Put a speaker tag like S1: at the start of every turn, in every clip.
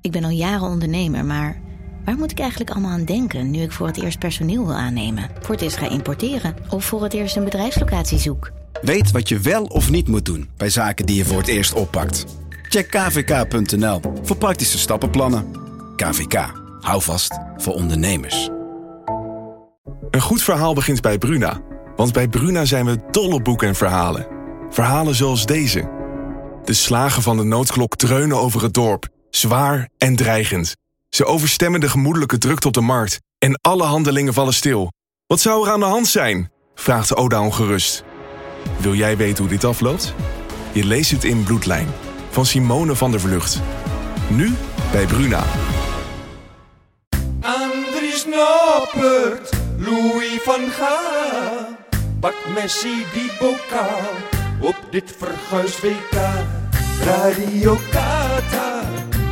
S1: Ik ben al jaren ondernemer, maar waar moet ik eigenlijk allemaal aan denken nu ik voor het eerst personeel wil aannemen, voor het eerst ga importeren of voor het eerst een bedrijfslocatie zoek?
S2: Weet wat je wel of niet moet doen bij zaken die je voor het eerst oppakt. Check kvk.nl voor praktische stappenplannen. KVK, hou vast voor ondernemers.
S3: Een goed verhaal begint bij Bruna. Want bij Bruna zijn we dol op boeken en verhalen. Verhalen zoals deze. De slagen van de noodklok dreunen over het dorp, zwaar en dreigend. Ze overstemmen de gemoedelijke drukte op de markt en alle handelingen vallen stil. Wat zou er aan de hand zijn? vraagt Oda ongerust. Wil jij weten hoe dit afloopt? Je leest het in Bloedlijn van Simone van der Vlucht. Nu bij Bruna.
S4: Andries Noppert, Louis van Gaal. Pak Messi die bokaal op dit verguis WK. Radio Qatar,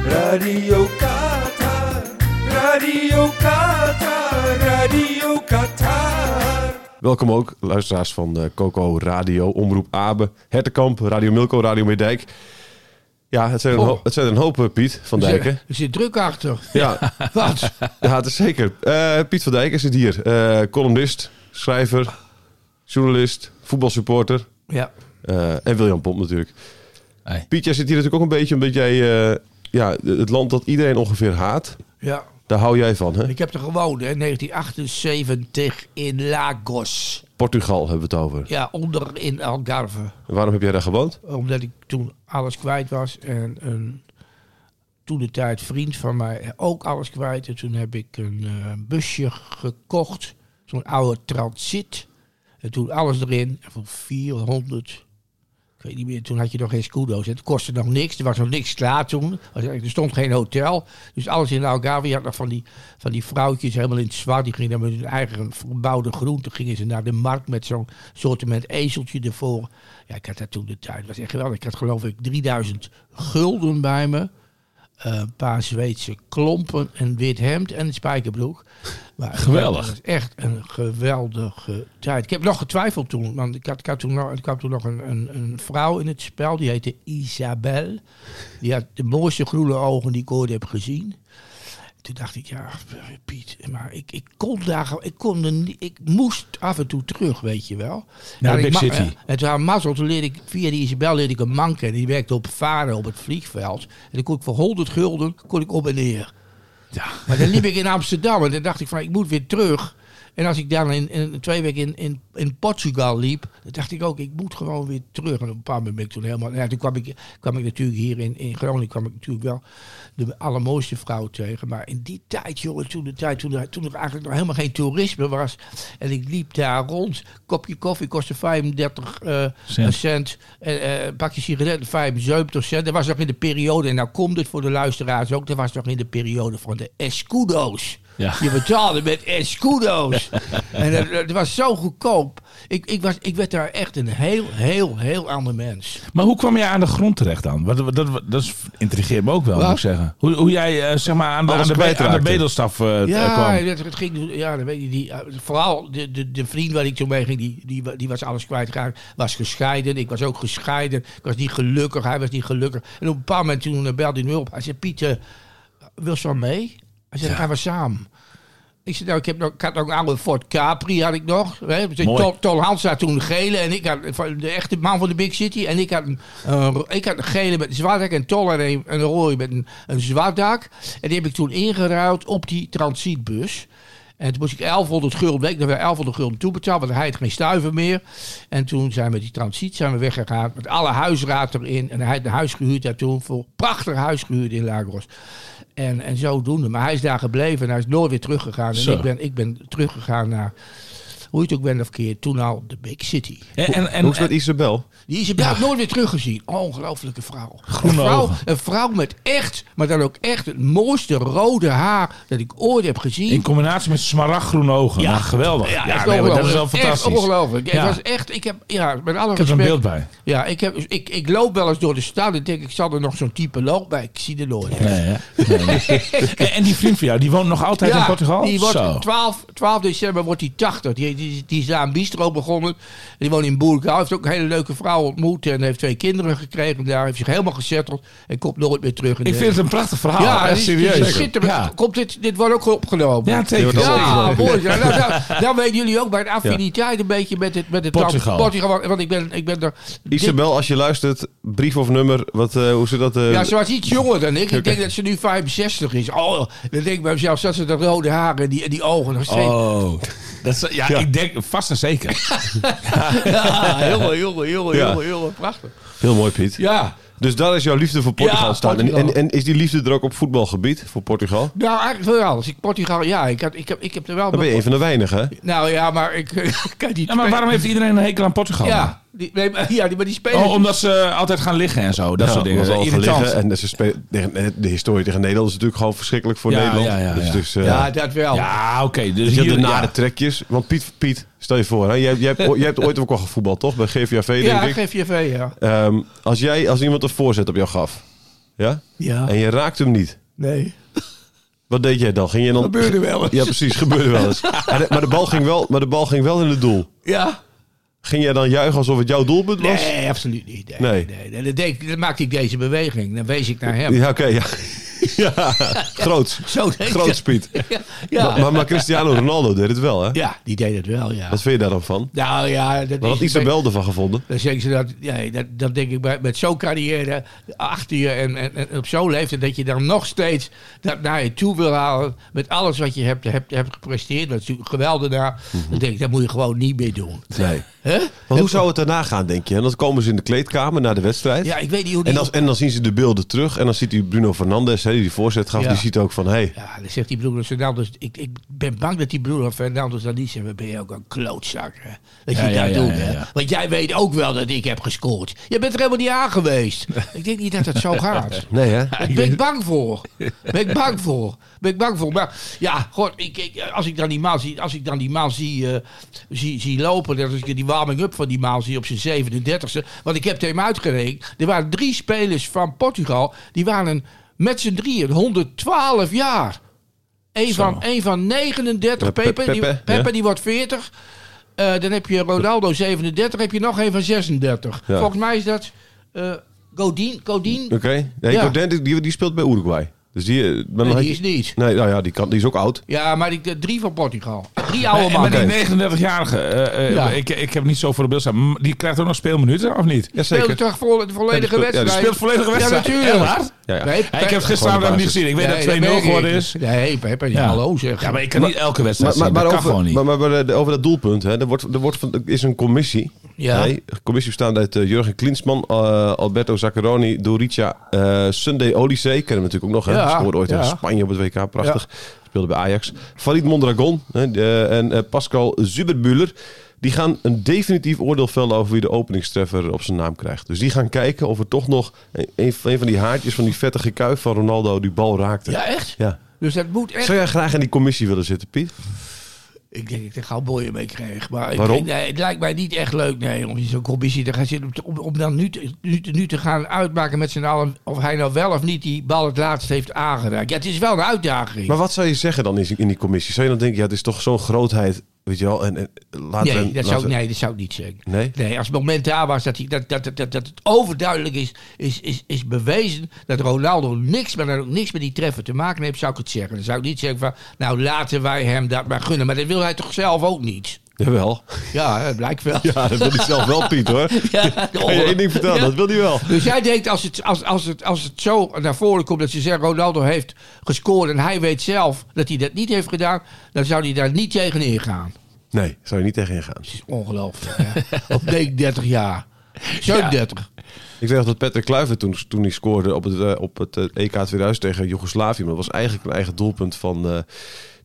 S4: Radio Qatar, Radio Qatar, Radio Qatar.
S5: Welkom ook, luisteraars van eh, Coco Radio, Omroep Abe, Hertekamp, Radio Milko, Radio Meerdijk. Ja, het zijn, een,
S6: Oh.
S5: ho- het zijn een hoop, eh, Piet van Dijk. hè?
S6: Er zit druk achter.
S5: Ja,
S6: Wat?
S5: ja, het is zeker. Eh, Piet van Dijk is het hier. Eh, columnist, schrijver, journalist, voetbalsupporter
S6: Ja.
S5: eh, en William Pomp natuurlijk.
S7: Hey.
S5: Piet, jij zit hier natuurlijk ook een beetje omdat jij eh, ja, het land dat iedereen ongeveer haat,
S6: ja.
S5: daar hou jij van. Hè?
S6: Ik heb er gewoond, hè. 1978 in Lagos.
S5: Portugal hebben we het over.
S6: Ja, onder in Algarve.
S5: En Waarom heb jij daar gewoond?
S6: Omdat ik toen alles kwijt was. En een toen de tijd vriend van mij ook alles kwijt. En toen heb ik een eh, busje gekocht. Zo'n oude transit. En toen alles erin. En voor 400. Ik weet niet meer, toen had je nog geen scudo's. Het kostte nog niks. Er was nog niks klaar toen. Er stond geen hotel. Dus alles in de Algarve. Je had nog van die, van die vrouwtjes helemaal in het zwart. Die gingen dan met hun eigen verbouwde groenten. Gingen ze naar de markt met zo'n soortement ezeltje ervoor. Ja, ik had dat toen de tijd. Dat was echt geweldig. Ik had geloof ik 3000 gulden bij me. Eh, een paar Zweedse klompen, een wit hemd en een spijkerbroek. Maar
S7: Geweldig.
S6: Het was echt een geweldige tijd. Ik heb nog getwijfeld toen, want ik had, ik had toen nog, er kwam toen nog een, een, een vrouw in het spel, die heette Isabel. Die had de mooiste groene ogen die ik ooit heb gezien. Toen dacht ik, ja, Piet, maar ik, ik kon daar, gewoon- ik kon er niet, ik moest af en toe terug, weet je wel.
S7: Naar
S6: En
S7: Big
S6: ik ma-
S7: City.
S6: eh, En toen aan mazzel, toen leerde ik, via die Isabel leerde ik een man kennen. Die werkte op Varen op het vliegveld. En dan kon ik voor 100 gulden, kon ik op en neer. Maar dan liep ik in Amsterdam en dan dacht ik van, ik moet weer terug. En als ik dan in, in twee weken in, in, in Portugal liep, dan dacht ik ook, ik moet gewoon weer terug. En op een bepaald moment ben ik toen helemaal... Ja, toen kwam ik, kwam ik natuurlijk hier in, in Groningen, kwam ik natuurlijk wel de allermooiste vrouw tegen. Maar in die tijd, jongen, toen, de tijd, toen, er- toen er eigenlijk nog helemaal geen toerisme was. En ik liep daar rond, kopje koffie kostte 35 eh,
S7: Cent.
S6: cent. En, eh, een pakje sigaretten, 75 cent. Dat was nog in de periode, en nou komt het voor de luisteraars ook, dat was nog in de periode van de escudo's.
S7: Ja.
S6: Je betaalde met escudo's. en dat, dat was zo goedkoop. Ik, ik, was, ik werd daar echt een heel, heel, heel ander mens.
S7: Maar hoe kwam jij aan de grond terecht dan? Wat, wat- dat, dat is- intrigeert me ook wel,
S6: Wat?
S7: moet ik zeggen. Hoe, hoe jij eh, zeg maar aan de,
S5: Alles
S7: aan de, be-
S5: kwijtraakte.
S7: aan de bedelstaf eh, eh,
S6: Ja,
S7: kwam.
S6: het, het ging, ja dan weet je, die, eh, vooral de, de, de vriend waar ik toen mee ging, die, die, wa- die was alles kwijtgeraakt. Was gescheiden, ik was ook gescheiden. Ik was niet gelukkig, hij was niet gelukkig. En op een bepaald moment toen eh, belde hij me op. Hij zei, Pieter, wil je wel mee? Hij zei, gaan we samen. Ik zei, nou, ik, heb nog, ik had nog een oude Ford Capri, had ik nog. Hè? Dus
S7: Mooi.
S6: Tol, Tol Hans had toen een gele en ik had van de echte man van de Big City. En ik had een, eh, ro- ik had een gele met een zwart dak en Tol had een, een rode met een, een zwart dak. En die heb ik toen ingeruild op die transitbus. En toen moest ik 1100 gulden, bleek dat we 1100 gulden toebetaald, want hij had geen stuiver meer. En toen zijn we die transiet zijn we weggegaan met alle huisraad erin. En hij had een huis gehuurd daar toen voor, prachtig huis gehuurd in Lagos. En, en zodoende. Maar hij is daar gebleven en hij is nooit weer teruggegaan. En
S7: Zo.
S6: ik ben, ik ben teruggegaan naar, hoe je het ook bent of keer, toen al de Big City.
S7: En, en, en,
S5: Hoe is het met Isabel?
S6: Die is ik daar nooit weer teruggezien. Ongelooflijke vrouw.
S7: Groene
S6: een, vrouw
S7: ogen.
S6: een vrouw met echt, maar dan ook echt het mooiste rode haar dat ik ooit heb gezien.
S7: in combinatie met smaragdgroene ogen. Ja, geweldig. Ja,
S6: Ja, echt
S7: nee, maar dat
S6: ongelooflijk.
S7: is wel
S6: Echt
S7: fantastisch.
S6: ongelooflijk.
S7: Ja.
S6: Het was echt, ik heb, ja, met alle
S7: Ik heb er een
S6: respect-
S7: beeld bij.
S6: Ja, ik, heb, ik, ik loop wel eens door de stad en denk ik, zal er nog zo'n type lopen? Maar ik zie er nooit.
S7: Nee, hè? Nee, nee. en, en die vriend van jou, die woont nog altijd in Portugal?
S6: die wordt
S7: Zo.
S6: 12, 12 december wordt hij 80. Die, die, die is aan een bistro begonnen. Die woont in Boerka. Heeft ook een hele leuke vrouw ontmoet. En heeft twee kinderen gekregen daar. Heeft zich helemaal gezetteld. En komt nooit meer terug. In
S7: Ik
S6: de-
S7: vind het een prachtig verhaal.
S6: ja,
S7: echt
S6: dit is- dit is
S7: serieus.
S6: schitterend.
S7: Ja.
S6: Komt dit, dit wordt ook opgenomen.
S7: Ja,
S5: Die
S7: zeker.
S5: wordt al-
S6: Ja, mooi. Ja, nou, nou, dan weten jullie ook bij de affiniteit een beetje met het, met het land
S7: Portugal.
S6: want- Want ik ben, ik ben er...
S5: Isabel, als je luistert, brief of nummer, wat, eh, hoe zit dat? eh,
S6: Ja, ze was iets jonger dan ik. Ik
S5: Oké.
S6: denk dat ze nu 65 is. Oh, dan denk ik bij mezelf, zat ze de rode haren en die, en die ogen nog steeds.
S7: Oh. Dat is, ja, ik denk vast en zeker.
S6: Ja, jongen, jongen, jongen,
S5: Ja.
S6: jongen, jongen. Prachtig.
S5: Heel mooi, Piet.
S6: Ja.
S5: Dus daar is jouw liefde voor Portugal
S6: Ja,
S5: staan. En,
S6: Portugal.
S5: en, en is die liefde er ook op voetbalgebied voor Portugal?
S6: Nou, eigenlijk voor alles. Ik Portugal, ja, ik, had, ik, heb, ik heb er wel...
S5: Dan ben je een van de weinigen. hè?
S6: Nou ja, maar ik kan niet...
S7: Ja, maar waarom heeft iedereen een hekel aan Portugal?
S6: Ja, die, nee, maar, ja, die, maar die spelers...
S7: Oh, omdat ze altijd gaan liggen en zo. Dat
S5: Ja,
S7: soort dingen.
S5: omdat ze al gaan
S7: Irritant.
S5: liggen En ze spelen- tegen- eh, de historie tegen Nederland is natuurlijk gewoon verschrikkelijk voor
S7: Ja,
S5: Nederland.
S7: ja, ja,
S5: dus,
S7: ja.
S5: dus, eh,
S6: ja, dat wel.
S7: Ja, oké. dus
S5: Dus je
S7: hier,
S5: hebt de nare
S7: ja.
S5: trekjes. Want Piet, Piet, stel je voor, hè, jij, jij, hebt, o- jij hebt ooit ook al gevoetbald, toch? Bij GVAV, denk
S6: Ja,
S5: ik.
S6: geef je even, ja.
S5: Ehm, als, jij, als iemand een voorzet op jou gaf, ja?
S6: Ja,
S5: en je raakt hem niet,
S6: nee.
S5: wat deed jij dan? Ging je dan...
S6: Gebeurde wel eens.
S5: Ja, precies, gebeurde wel eens. Maar de, maar de bal ging wel, maar de bal ging wel in het doel.
S6: Ja.
S5: Ging jij dan juichen alsof het jouw doelpunt was?
S6: Nee, absoluut niet. Nee,
S5: Nee.
S6: nee. nee. Dan, denk ik- dan maakte ik deze beweging. Dan wees ik naar hem.
S5: Ja, oké, ja. ja. Groots.
S6: Zo deed ik
S5: Groots,
S6: dat.
S5: Piet.
S6: Ja, ja.
S5: Maar, maar Cristiano Ronaldo deed het wel, hè?
S6: ja, die deed het wel, ja.
S5: Wat vind je daar dan van?
S6: Nou ja, dat
S5: Wat had
S6: is-
S5: Isabel ervan gevonden?
S6: Dan zeggen ze dat, nee, dat, dat denk ik bij, met zo'n carrière achter je en, en, en op zo'n leeftijd dat je dan nog steeds dat naar je toe wil halen met alles wat je hebt, hebt, hebt gepresteerd. Dat is natuurlijk geweldig daar. Dan denk ik, dat moet je gewoon niet meer doen.
S5: Mhm. Nee.
S6: hè
S5: Maar hoe zou het daarna gaan, denk je? En dan komen ze in de kleedkamer na de wedstrijd.
S6: Ja, ik weet niet hoe die...
S5: En, als, en dan zien ze de beelden terug. En dan ziet u Bruno Fernandes, hè, die die voorzet gaf.
S6: Ja.
S5: Die ziet ook van, hé, hey,
S6: Ja, dan zegt die broer Fernandes... Ik, ik ben bang dat die broer Fernandes dan niet zegt... "Wat Ben je ook een klootzak, hè? Dat je
S7: Ja, ja,
S6: dat
S7: ja,
S6: doet,
S7: ja,
S6: hè?
S7: ja.
S6: Want jij weet ook wel dat ik heb gescoord. Je bent er helemaal niet aan geweest. ik denk niet dat het zo gaat.
S5: nee hè?
S6: Daar ben ik bang voor. Ben ik bang voor. Ben ik bang voor. Maar ja, god, ik, ik, als ik dan die maan zie, als ik dan die maan zie, eh, zie, zie lopen, dat is die warming-up van die maan zie op zijn 37e. Want ik heb het hem uitgerekend. Er waren drie spelers van Portugal, die waren met z'n drieën 112 jaar. Eén van, één van 39.
S5: Ja,
S6: Pepe,
S5: Pepe,
S6: die,
S5: ja.
S6: Pepe, die wordt 40. Eh, dan heb je Ronaldo 37. Heb je nog één van 36.
S5: Ja.
S6: Volgens mij is dat eh Godin. Godin
S5: Oké. Nee,
S6: Ja.
S5: Godin, die- die, die speelt bij Uruguay. Dus die, eh, maar dan
S6: Nee,
S5: had
S6: die
S5: je-
S6: is niet.
S5: Nee, nou ja, die, kan, die is ook oud.
S6: Ja, maar die, de drie van Portugal. Drie oude
S7: En maar
S6: mannen.
S5: Oké.
S7: die 39-jarige, eh, eh,
S6: Ja.
S7: ik, ik heb niet zo voor de beeld staan, maar die krijgt ook nog speelminuten, of niet?
S5: Ja,
S6: Speelde
S5: zeker.
S6: toch voor de volledige
S5: Ja, die speelt- ja,
S6: wedstrijd?
S5: die
S7: Speelt volledige wedstrijd.
S6: Ja, natuurlijk.
S7: Heel hard.
S5: Ja, ja.
S6: Nee,
S7: Ja, ik heb het
S5: Gewoon
S7: gisteren
S5: de
S7: nog niet
S5: basis.
S7: gezien. Ik weet
S6: Nee,
S7: dat het 2-0
S6: merk ik.
S7: geworden is.
S6: Nee, Pepe,
S7: Ja.
S6: hallo zeg.
S7: Ja, maar ik kan niet elke wedstrijd
S5: Maar, maar,
S7: zien.
S5: maar,
S7: Dat kan
S5: over,
S7: gewoon niet.
S5: maar, maar, maar, eh, over dat doelpunt, hè, er, wordt, er, wordt van, er is een commissie.
S6: Ja.
S5: Nee, een commissie bestaande uit eh, Jurgen Klinsman, eh, Alberto Zaccheroni, Dorica, eh Sunday Olise. Kennen we natuurlijk ook nog. Hè?
S6: Ja,
S5: Scoorde ooit
S6: ja.
S5: tegen Spanje op het WK. Prachtig. Speelde bij Ajax. Farid Mondragon hè, eh, en eh, Pascal Zuberbuller. Die gaan een definitief oordeel vellen over wie de openingstreffer op zijn naam krijgt. Dus die gaan kijken of er toch nog een, een van- een van die haartjes van die vettige kuif van Ronaldo die bal raakte.
S6: Ja, echt?
S5: Ja.
S6: Dus dat moet echt.
S5: Zou jij graag in die commissie willen zitten, Piet?
S6: Ik denk dat ik er gauw boeien mee kreeg. Maar ik
S5: Waarom?
S6: denk, nee, het lijkt mij niet echt leuk nee, om in zo'n commissie te gaan zitten. om te- Om, om dan nu te, nu, te- nu te gaan uitmaken met z'n allen of hij nou wel of niet die bal het laatst heeft aangeraakt. Ja, het is wel een uitdaging.
S5: Maar wat zou je zeggen dan in in die commissie? Zou je dan denken, ja, het is toch zo'n grootheid, weet je wel? En, en laten we-
S6: nee, dat zou,
S5: laten
S6: ik-
S5: we-
S6: nee, dat zou ik niet zeggen.
S5: Nee?
S6: Nee, als het moment daar was dat, hij, dat, dat, dat, dat, dat het overduidelijk is, is, is, is bewezen dat Ronaldo niks, maar dan ook niks met die treffer te maken heeft, zou ik het zeggen. Dan zou ik niet zeggen van, nou laten wij hem dat maar gunnen. Maar dat wil hij toch zelf ook niet?
S5: Jawel.
S6: Ja, dat blijkt wel.
S5: Ja, dat wil hij zelf wel, Piet, hoor.
S6: Ja,
S5: Kan je één ding vertellen,
S6: Oh. Ja.
S5: dat wil hij wel.
S6: Dus jij denkt als het, als, als, het, als het zo naar voren komt dat ze zeggen Ronaldo heeft gescoord en hij weet zelf dat hij dat niet heeft gedaan, dan zou hij daar niet tegen ingaan.
S5: Nee, zou je niet tegenin gaan.
S6: Het is ongelooflijk. hè. Op 39 jaar. 37.
S5: Ik weet nog dat Patrick Kluivert toen, toen hij scoorde op het, eh, op het eh, EK 2000 tegen Joegoslavië. Maar dat was eigenlijk een eigen doelpunt van eh,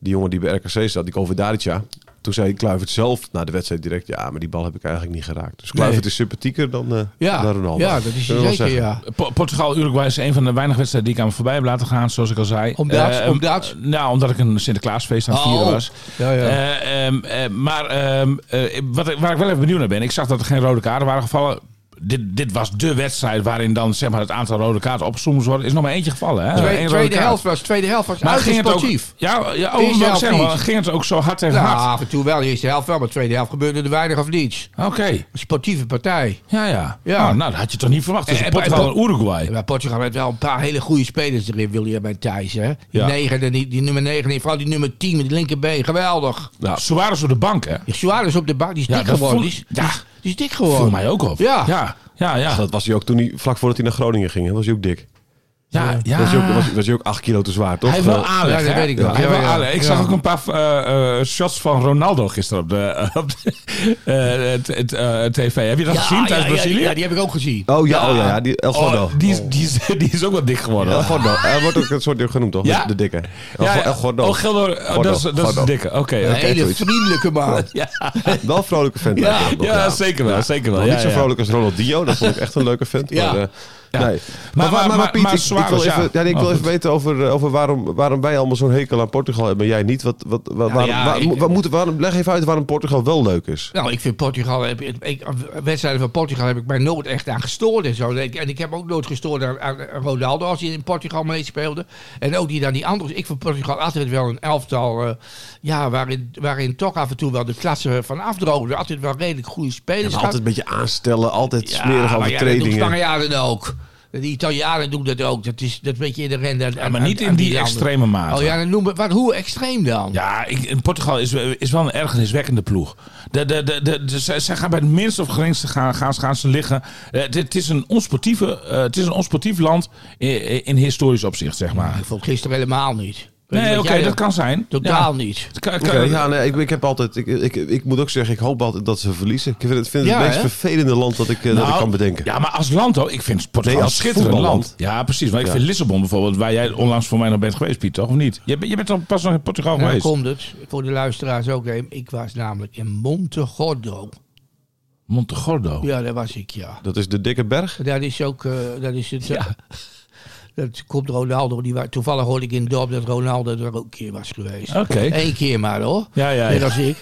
S5: die jongen die bij RKC staat, die Kovidarica. Toen zei Kluivert zelf na de wedstrijd direct, ja, maar die bal heb ik eigenlijk niet geraakt. Dus Kluivert
S6: Nee.
S5: is sympathieker dan, eh,
S6: Ja,
S5: dan Ronaldo.
S6: ja, dat
S5: Kunnen
S6: is
S5: we wel
S6: hij zeker,
S5: zeggen.
S6: ja.
S7: Po- Portugal-Uruguay is een van de weinige wedstrijden die ik aan me voorbij heb laten gaan, zoals ik al zei.
S6: Omdat?
S7: Eh,
S6: Omdat?
S7: eh, Nou, omdat ik een Sinterklaasfeest aan het
S6: Oh.
S7: vieren was.
S6: Ja, ja.
S7: Eh, ehm, eh, maar ehm, eh, wat, ik- waar ik wel even benieuwd naar ben, ik zag dat er geen rode kaarten waren gevallen. Dit, dit was de wedstrijd waarin dan zeg maar, het aantal rode kaarten opgesomd wordt. Er is nog maar eentje gevallen. Hè?
S6: Twee-
S7: Eén Eh, rode
S6: tweede,
S7: kaart.
S6: helft was, tweede helft was
S7: Maar ging het ook,
S6: sportief.
S7: ja, ja,
S6: Eerste
S7: oh, wou ik
S6: helft
S7: zeggen,
S6: niet.
S7: maar ging het ook zo hard tegen
S6: Nou,
S7: hard?
S6: af en toe wel. De eerste helft wel, maar de tweede helft gebeurde er weinig of niets.
S7: Oké,
S6: Een sportieve partij.
S7: ja, ja.
S6: Ja.
S7: Nou, nou, dat had je toch niet verwacht. Dus
S6: Eh, eh,
S7: Portugal
S6: eh,
S7: en Uruguay.
S6: Maar Portugal heeft wel een paar hele goede spelers erin, William en Thijs. Hè? Die,
S7: Ja.
S6: negen, en die, die nummer 9 en vooral die nummer 10 met die linkerbeen. Geweldig.
S7: Nou, Suarez op de bank, hè?
S6: Ja, Suarez op de bank, die is
S7: Ja,
S6: dik
S7: dat
S6: geworden.
S7: voel-
S6: Die is,
S7: ja.
S6: die is- die is dik geworden.
S7: Voel mij ook op.
S6: Ja.
S7: ja, ja. ja.
S5: Dat was hij ook toen hij, vlak voordat hij naar Groningen ging. hè, was hij ook dik.
S7: Ja, ja.
S5: eh, Was, hij ook, was, was hij ook acht kilo te zwaar, toch?
S7: Hij heeft wel
S5: Eh,
S7: aanleg,
S6: Ja, dat
S7: hè?
S6: weet ik wel.
S7: Hij heeft
S6: Ja,
S7: wel
S6: ja.
S7: aanleg. Ik zag
S6: Ja.
S7: ook een paar eh, eh, shots van Ronaldo gisteren op de, op de, eh, het- het, eh, tv. Heb je dat gezien
S6: ja,
S7: tijdens
S6: Ah, ja,
S7: Brazilië?
S6: Ja, die heb ik ook gezien.
S5: Oh ja, oh ja, ja, die El Gordo.
S7: Oh, die, is, die, is, die is ook wat dik geworden.
S5: El
S7: Ja,
S5: Gordo. Hij wordt ook een soort deel genoemd, toch?
S7: Ja?
S5: De dikke. El, Go- El Gordo.
S7: Oh, Gelder, oh,
S5: Gordo,
S7: dat is, dat is
S5: Gordo.
S7: de dikke. Oké,
S6: Een
S7: oké.
S6: hele
S5: zoiets.
S6: vriendelijke man.
S5: Wel een vrolijke vent.
S6: Ja,
S5: lijkt het wel.
S7: Ja, zeker wel, zeker wel.
S5: Nog
S7: Ja,
S5: niet zo
S7: ja.
S5: vrolijk als Ronaldinho. Dat vond ik echt een leuke vent.
S6: Ja.
S5: Maar, eh, Nee.
S7: maar- maar- maar
S5: ik- ik, wil
S7: Suarez,
S5: even,
S7: ja.
S5: ja, nee, ik wil
S7: Oh,
S5: even weten over, eh, over waarom, waarom wij allemaal zo'n hekel aan Portugal hebben en jij niet. Wat, wat, wat, waarom,
S6: ja,
S5: waar-
S6: ik-
S5: mo- wat moet, waarom, leg even uit waarom Portugal wel leuk is.
S6: Nou, ik vind Portugal. heb- Ik, wedstrijden van Portugal heb ik mij nooit echt aan gestoord. En, zo. En ik- en ik heb ook nooit gestoord aan, aan Ronaldo als hij in Portugal meespeelde. En ook niet aan die anderen. Ik vind Portugal altijd wel een elftal. eh, ja, waarin, waarin toch af en toe wel de klasse van afdroogde. Altijd wel redelijk goede spelers.
S5: altijd een beetje aanstellen, altijd
S6: Ja,
S5: smerige
S6: maar ja, dat doen
S5: overtredingen.
S6: Spanjaarden ook. De Italianen doen dat ook. Dat is dat weet je in de rende.
S7: Ja, maar niet in die extreme mate.
S6: Oh ja, dan noem het, wat, hoe extreem dan?
S7: Ja, ik, in Portugal is, is wel een ergerniswekkende ploeg. De, de, de, de, de- ze, ze gaan bij het minst of geringste gaan, gaan, ze- gaan ze liggen. Eh, Het, het, is een onsportieve, eh, het is een onsportief land in, in historisch opzicht, zeg maar.
S6: Ik vond gisteren helemaal niet. Weet je
S7: Nee,
S6: wat
S7: oké,
S6: jij
S7: dat
S6: dan-
S7: kan zijn.
S6: Totaal
S7: Ja.
S6: niet.
S7: Het kan- het
S5: Oké,
S7: kan-
S5: ja, nee, ik, ik heb altijd, ik, ik, ik moet ook zeggen, ik hoop altijd dat ze verliezen. Ik vind het, vind het,
S6: Ja,
S5: het meest
S6: hè?
S5: vervelende land dat ik, eh, dat
S7: Nou,
S5: ik kan bedenken.
S7: Ja, maar als land ook. Ik vind Portugal
S5: Nee,
S7: een
S5: als
S7: schitterend
S5: voetballand.
S7: land. Ja, precies. Want ik
S5: Ja.
S7: vind Lissabon bijvoorbeeld, waar jij onlangs voor mij nog bent geweest, Piet, toch? Of niet? Je, bent- je bent dan pas nog in Portugal
S6: Nou,
S7: geweest.
S6: komt het. Voor de luisteraars ook. hè. Ik was namelijk in Montegordo.
S7: Montegordo.
S6: Ja, daar was ik, ja.
S5: Dat is de dikke berg.
S6: Dat is ook... eh, dat is het... eh, dat komt Ronaldo. Die wa- toevallig hoorde ik in het dorp dat Ronaldo er ook een keer was geweest.
S7: Oké.
S6: Eén keer maar hoor.
S7: Ja, ja,
S6: Net
S7: ja.
S6: als ik.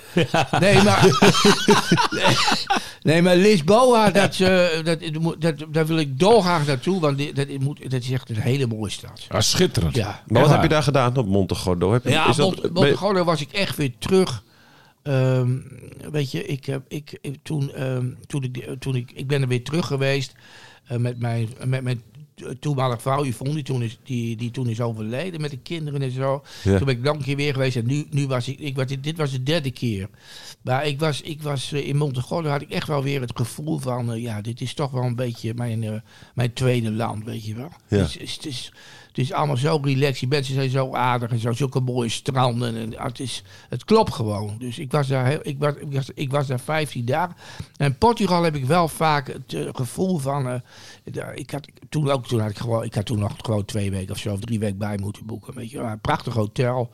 S6: Nee, maar... nee, maar Lisboa, dat, eh, dat, dat, daar wil ik dolgraag naartoe. Want die- dat, moet, dat is echt een hele mooie stad.
S7: Ah, schitterend.
S6: Ja.
S5: Maar
S7: Echt
S5: wat heb
S7: waar.
S5: je daar gedaan op Montegordo? Heb je,
S6: Ja,
S5: is dat-
S6: Mont-
S5: ben je-
S6: Montegordo was ik echt weer terug. Ehm, weet je, ik, heb- ik, ik- toen, ehm, toen, ik, die- toen ik, ik ben er weer terug geweest eh, met mijn, met mijn toenmalige vrouw Yvonne, die toen, is, die, die toen is overleden met de kinderen en zo.
S5: Ja.
S6: Toen ben ik nog een keer weer geweest en nu, nu was ik, ik was, dit was de derde keer. Maar ik was, ik was eh, in Montegordo had ik echt wel weer het gevoel van, eh, ja, dit is toch wel een beetje mijn, eh, mijn tweede land, weet je wel. Dus
S5: Ja.
S6: Het, is, het, is, het is allemaal zo relaxed, die mensen zijn zo aardig en zo, zulke mooie stranden. En, ah, het, is, het klopt gewoon. Dus ik was, daar heel, ik, was, ik, was, ik was daar 15 dagen. En Portugal heb ik wel vaak het eh, gevoel van, eh, ja, ik had toen ook, toen had ik gewoon, ik had toen nog gewoon twee weken of zo, of drie weken bij moeten boeken, weet je wel. Een prachtig hotel,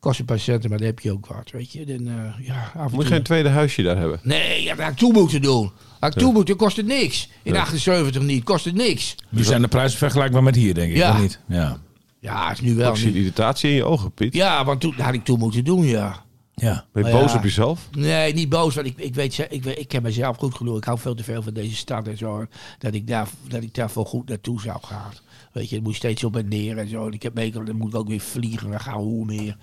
S6: kost een paar centen, maar dan heb je ook wat, weet je. Dan, eh, ja, af en
S5: moet je
S6: toe-
S5: geen tweede huisje daar hebben?
S6: Nee, dat had ik toe moeten doen. Had ik toe moeten, kost het niks. In 78 niet, kost het niks.
S7: Nu zijn de prijzen vergelijkbaar met hier, denk ik.
S6: Ja.
S7: Of niet? Ja.
S6: Ja, is nu wel
S5: Ik zie
S6: niet.
S5: irritatie in je ogen, Piet.
S6: Ja, want toen had ik toe moeten doen, ja.
S7: Ja.
S5: Ben je
S6: Maar
S5: boos
S6: ja.
S5: op jezelf?
S6: Nee, niet boos, want ik, ik weet, ze- ik, weet- ik ken mezelf goed genoeg. Ik hou veel te veel van deze stad en zo. Dat ik, daar, dat ik daarvoor goed naartoe zou gaan. Weet je, dan moet je steeds op en neer en zo. En ik heb meegekomen, dan moet ik ook weer vliegen. Dan gaan we hoe meer.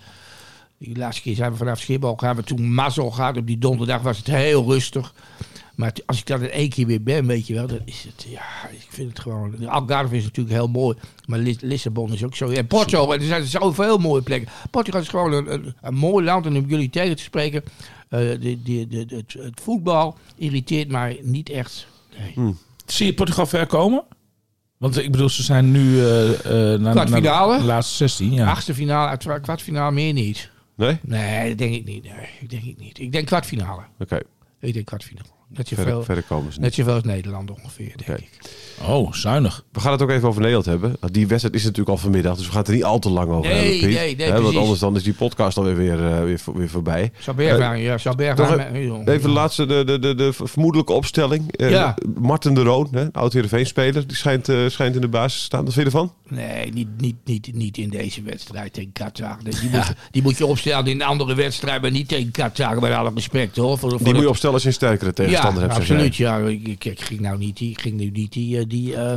S6: De laatste keer zijn we vanaf Schiphol gaan we toen mazzel gehad. Op die donderdag was het heel rustig. Maar t- als ik dan in één keer weer ben, weet je wel, dan is het, ja, ik vind het gewoon... de Algarve is natuurlijk heel mooi, maar Lis- Lissabon is ook zo. En Porto, en er zijn zoveel mooie plekken. Portugal is gewoon een, een, een mooi land, en om jullie tegen te spreken, eh, de, de, de, de- het, het voetbal irriteert mij niet echt. Nee.
S7: Zie je Portugal ver komen? Want ik bedoel, ze zijn nu eh eh naar,
S6: Kwartfinale?
S7: naar de laatste 16. Ja.
S6: Achtste finale, uiteraard kwartfinale, meer niet.
S5: Nee?
S6: Nee, dat denk ik niet. Nee, ik denk ik niet. Ik denk kwartfinale.
S5: Oké,
S6: Ik denk kwartfinale. Net
S5: verder,
S6: zoveel,
S5: verder komen ze niet.
S6: net zoveel als Nederland ongeveer, denk
S5: Oké.
S6: ik.
S7: Oh, zuinig.
S5: We gaan het ook even over Nederland hebben. Die wedstrijd is natuurlijk al vanmiddag, dus we gaan het er niet al te lang over
S6: Nee,
S5: hebben, Piet.
S6: nee, nee,
S5: Hè, want
S6: precies.
S5: anders dan is die podcast alweer weer, eh, weer, voor- weer voorbij.
S6: Saberwijn, ja, Saberwijn.
S5: Nog
S6: eh, joh.
S5: even e- even de laatste, de, de, de, de vermoedelijke opstelling. Eh,
S6: Ja.
S5: Martin de Roon, hè, oud Heerenveen-speler, die schijnt, eh, schijnt in de basis te staan. Wat vind je ervan?
S6: Nee, niet, niet, niet, niet in deze wedstrijd tegen Qatar. Nee, Die, moet, die moet je opstellen in een andere wedstrijd, maar niet tegen Qatar. Met alle respect hoor. Voor, voor
S5: Die moet
S6: de-
S5: je opstellen als je een sterkere tegen tegenstander hebt. zeg jij.
S6: absoluut. Ja, ik, ik- ik ging nou niet die, ging nu niet die, eh, die, eh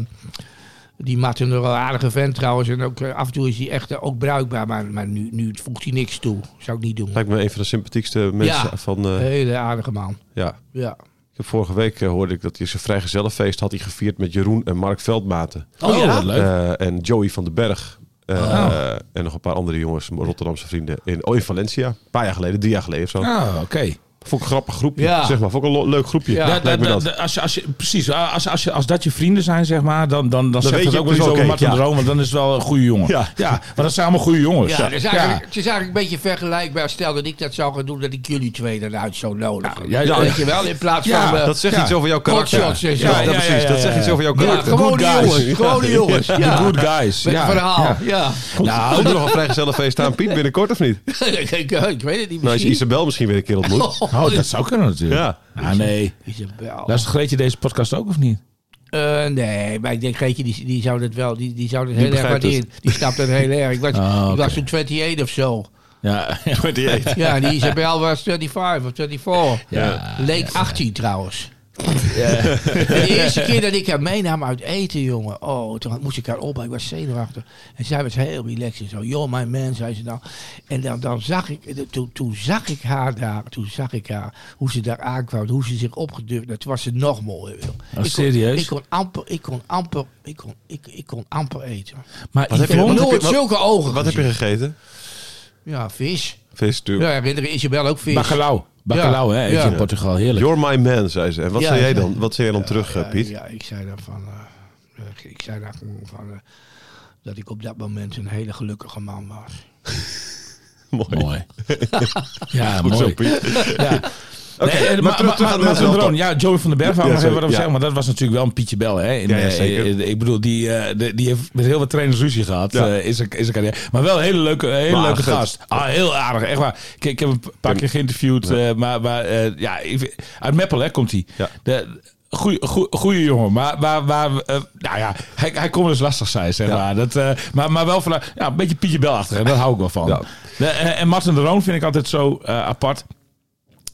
S6: die Martin wel een aardige vent trouwens. En ook eh, af en toe is hij echt eh, ook bruikbaar. Maar, maar nu, nu voegt hij niks toe. Zou ik niet doen.
S5: Lijkt me een van de sympathiekste mensen
S6: Ja.
S5: van... eh,
S6: Hele aardige man.
S5: ja.
S6: Ja.
S5: Ik heb vorige week eh, hoorde ik dat hij zijn vrijgezellenfeest had hij gevierd met Jeroen en Mark Veldmaten.
S7: Oh, ja? wat leuk.
S5: Eh, en Joey van den Berg. Eh,
S7: Oh.
S5: En nog een paar andere jongens, Rotterdamse vrienden. In, oh, in Valencia. Een paar jaar geleden, drie jaar geleden of zo.
S7: Ah, oké.
S5: Vond ik een grappig groepje.
S6: Ja.
S5: Zeg maar, vond ik een lo- leuk groepje.
S6: Ja.
S7: Da-
S5: Lijkt
S7: da-
S5: me
S7: da-
S5: dat.
S7: da- als je- als je- Precies, als, als, als, je, als dat je vrienden zijn, zeg maar, dan, dan, dan,
S5: weet
S7: zegt dat
S5: je
S7: ook wel iets
S5: dus
S7: over
S5: oké,
S7: Martin
S5: ja.
S7: de Roon, want dan is het wel een goede jongen.
S5: Ja.
S7: want dat zijn allemaal goede jongens.
S6: Ja, het is, eigenlijk, het is eigenlijk een beetje vergelijkbaar. Stel dat ik dat zou gaan doen, dat ik jullie twee eruit zou nodigen.
S7: Ja,
S6: Ja,
S7: ja.
S6: Weet je wel, in plaats
S7: Ja,
S6: van... eh,
S5: Dat zegt
S7: Ja.
S5: iets over jouw karakter.
S6: Hotshots en zo.
S5: Ja, dat
S7: Ja, ja,
S5: precies.
S7: ja,
S5: Dat
S7: ja,
S5: zegt
S7: ja.
S5: iets over jouw
S6: Ja,
S5: karakter.
S6: gewone
S7: Good guys.
S6: jongens. Gewone jongens. Ja.
S7: The good guys.
S6: Met
S7: ja.
S6: een verhaal.
S7: Ja.
S6: Ja.
S5: Nou, doe nog een vrijgezellenfeest aan Piet binnenkort of niet?
S6: ik, ik- ik weet
S5: Nou, als
S6: het niet
S5: je
S6: misschien.
S5: Isabel misschien weer een keer ontmoet.
S7: Oh, dat zou kunnen natuurlijk.
S5: Ja.
S7: Ah, nee.
S6: Isabel.
S7: Luister Greetje deze podcast ook of niet?
S6: Eh, nee, maar ik denk, Geetje, die, die zou dat wel, die, die zou dat heel erg
S5: begrijpt het.
S6: waarderen. Die snapt dat heel erg. Ik was,
S7: Ah, oké.
S6: ik was toen 28 of zo.
S7: Ja.
S6: Ja, en die Isabel was 25 of 24.
S7: Ja.
S6: Leek 18 trouwens. En de eerste keer dat ik haar meenam uit eten, jongen. Oh, toen had- moest ik haar op. Ik was zenuwachtig. En zij was heel relaxed. En zo, joh, mijn man, zei ze dan. En dan, dan zag ik, eh, toen, toen zag ik haar daar. Toen zag ik haar, hoe ze daar aankwam. Hoe ze zich opgedurfd had. Toen was ze nog mooier, joh.
S7: Oh,
S6: Ik kon-
S7: serieus?
S6: Ik kon amper, ik kon amper, ik kon, ik, ik kon amper eten.
S7: Maar
S5: Wat heb je-
S6: Ik
S7: Yvonne-
S6: heb
S5: wat
S6: nooit
S5: wat-
S6: zulke ogen
S5: Wat heb je
S6: gezien.
S5: gegeten?
S6: Ja, vis.
S5: Vis,
S6: Ja,
S5: natuurlijk.
S6: herinner je Isabel ook vis.
S7: Bacalhau. Bacalhau, hè? Eet je
S6: Ja.
S7: in Portugal. Heerlijk.
S5: You're my man, zei ze. En wat
S6: Ja,
S5: zei jij
S6: ja.
S5: dan? Wat zei jij dan terug, eh,
S6: Ja,
S5: Piet?
S6: Ja, ik zei dan van. eh, eh, ik zei dan gewoon van. eh, dat ik op dat moment een hele gelukkige man was.
S7: Mooi. ja,
S5: Goed zo,
S7: mooi.
S5: Piet.
S7: Ja. Nee, eh,
S5: terug-
S7: maar,
S5: terug aan
S7: maar, maar,
S5: Nelson
S7: Martin de
S5: Delta.
S7: Roon, ja, Joey van den Berg, wou
S5: Ja,
S7: nog even wat
S5: sorry,
S7: over zeggen, maar dat was natuurlijk wel een Pietje Bel. Hè, in,
S5: Ja, ja,
S7: eh,
S5: zeker.
S7: eh, ik bedoel, die, eh, de- die heeft met heel wat trainers ruzie gehad
S5: Ja.
S7: eh, in zijn in zijn carrière. Maar wel een hele leuke, een hele
S5: Maar
S7: leuke
S5: aardig
S7: gast. Ah, heel aardig, echt waar. Ik, ik heb hem een paar keer geïnterviewd, eh, maar, maar eh, ja, ik vind- uit Meppel hè, komt hij.
S5: Ja.
S7: De- Goeie, goe- goeie jongen, maar, maar, maar eh, nou ja, hij, hij kon dus lastig zijn, zeg maar. Dat, eh, maar, maar wel vanuit, ja, een beetje Pietje Belachtig, en daar hou ik wel van.
S5: Ja.
S7: De- eh, en Martin de Roon vind ik altijd zo eh, apart.